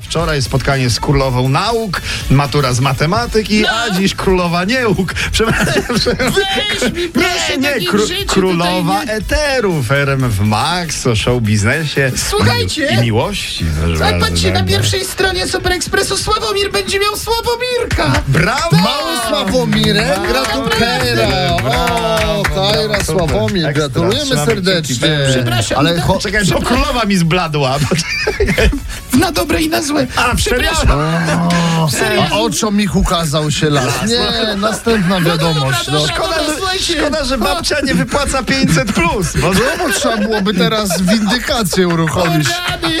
Wczoraj spotkanie z królową nauk, matura z matematyki, No. a dziś królowa nieuk. Przepraszam. Weź mi, proszę, Nie, nie, takich kró- rzeczy królowa tutaj nie- eterów, RMF Max, o show biznesie. Słuchajcie. I miłości. proszę Ale bardzo, patrzcie, na tak, pierwszej stronie Super Ekspresu Sławomir będzie miał Sławomirka. No. Brawo! Mały Sławomirek, gratulkera! Brawo, O, Kajra brawo, Sławomir, super. gratulujemy Ekstra, serdecznie. trzymamy kciuki. Przepraszam, ale cho- Czekaj, bo królowa mi zbladła. Na dobre i na złe. A, no przepraszam. a oczom ich ukazał się las. Nie, następna wiadomość. No, Szkoda, Dobra, że, słuchajcie. szkoda, że babcia nie wypłaca 500 plus. Bo no bo trzeba byłoby teraz windykację uruchomić. Rany.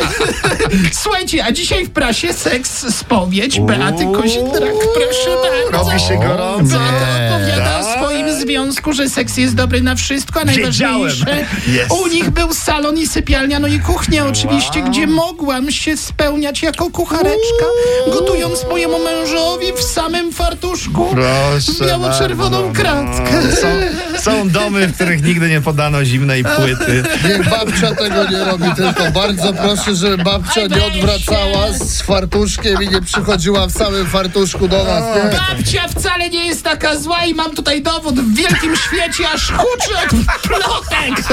Słuchajcie, a dzisiaj w prasie seks, spowiedź Beaty Kozidrak, proszę bardzo. robi się gorąco. Beata opowiada o Tak. swoim związku, że seks jest dobry na wszystko, a Wiedziałem. najważniejsze Jest. u nich był salon i sypialnia, no i kuchnia oczywiście, gdzie mogłam się spełniać jako kuchareczka, gotując mojemu mężowi w samym fartuszku Proszę biało-czerwoną bardzo, kratkę. no. Są, są domy, w których nigdy nie podano zimnej płyty. Niech babcia tego nie robi, tylko bardzo proszę, żeby babcia nie odwracała z fartuszkiem i nie przychodziła w samym fartuszku do nas. Nie? Babcia wcale nie jest taka zła i mam tutaj dowód w wielkim świecie, aż huczy od plotek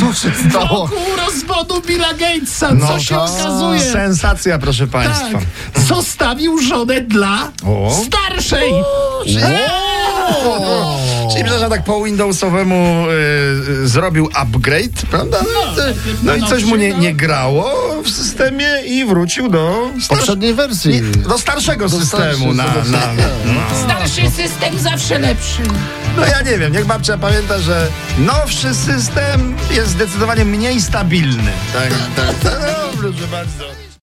Co się stało? wokół rozwodu Billa Gatesa, co się to okazuje. No tak. Sensacja, proszę Tak, państwa. zostawił żonę dla O. starszej. Tak. O! Czyli przepraszam, tak po Windowsowemu y, y, zrobił upgrade, prawda? No, no i coś mu nie, nie grało w systemie i wrócił do, starsz, Poprzedniej wersji. do starszego starszego systemu. Na, na, systemu. no. Starszy system zawsze lepszy. no ja nie wiem, niech babcia pamięta, że nowszy system jest zdecydowanie mniej stabilny. Tak, tak, tak. No, proszę bardzo.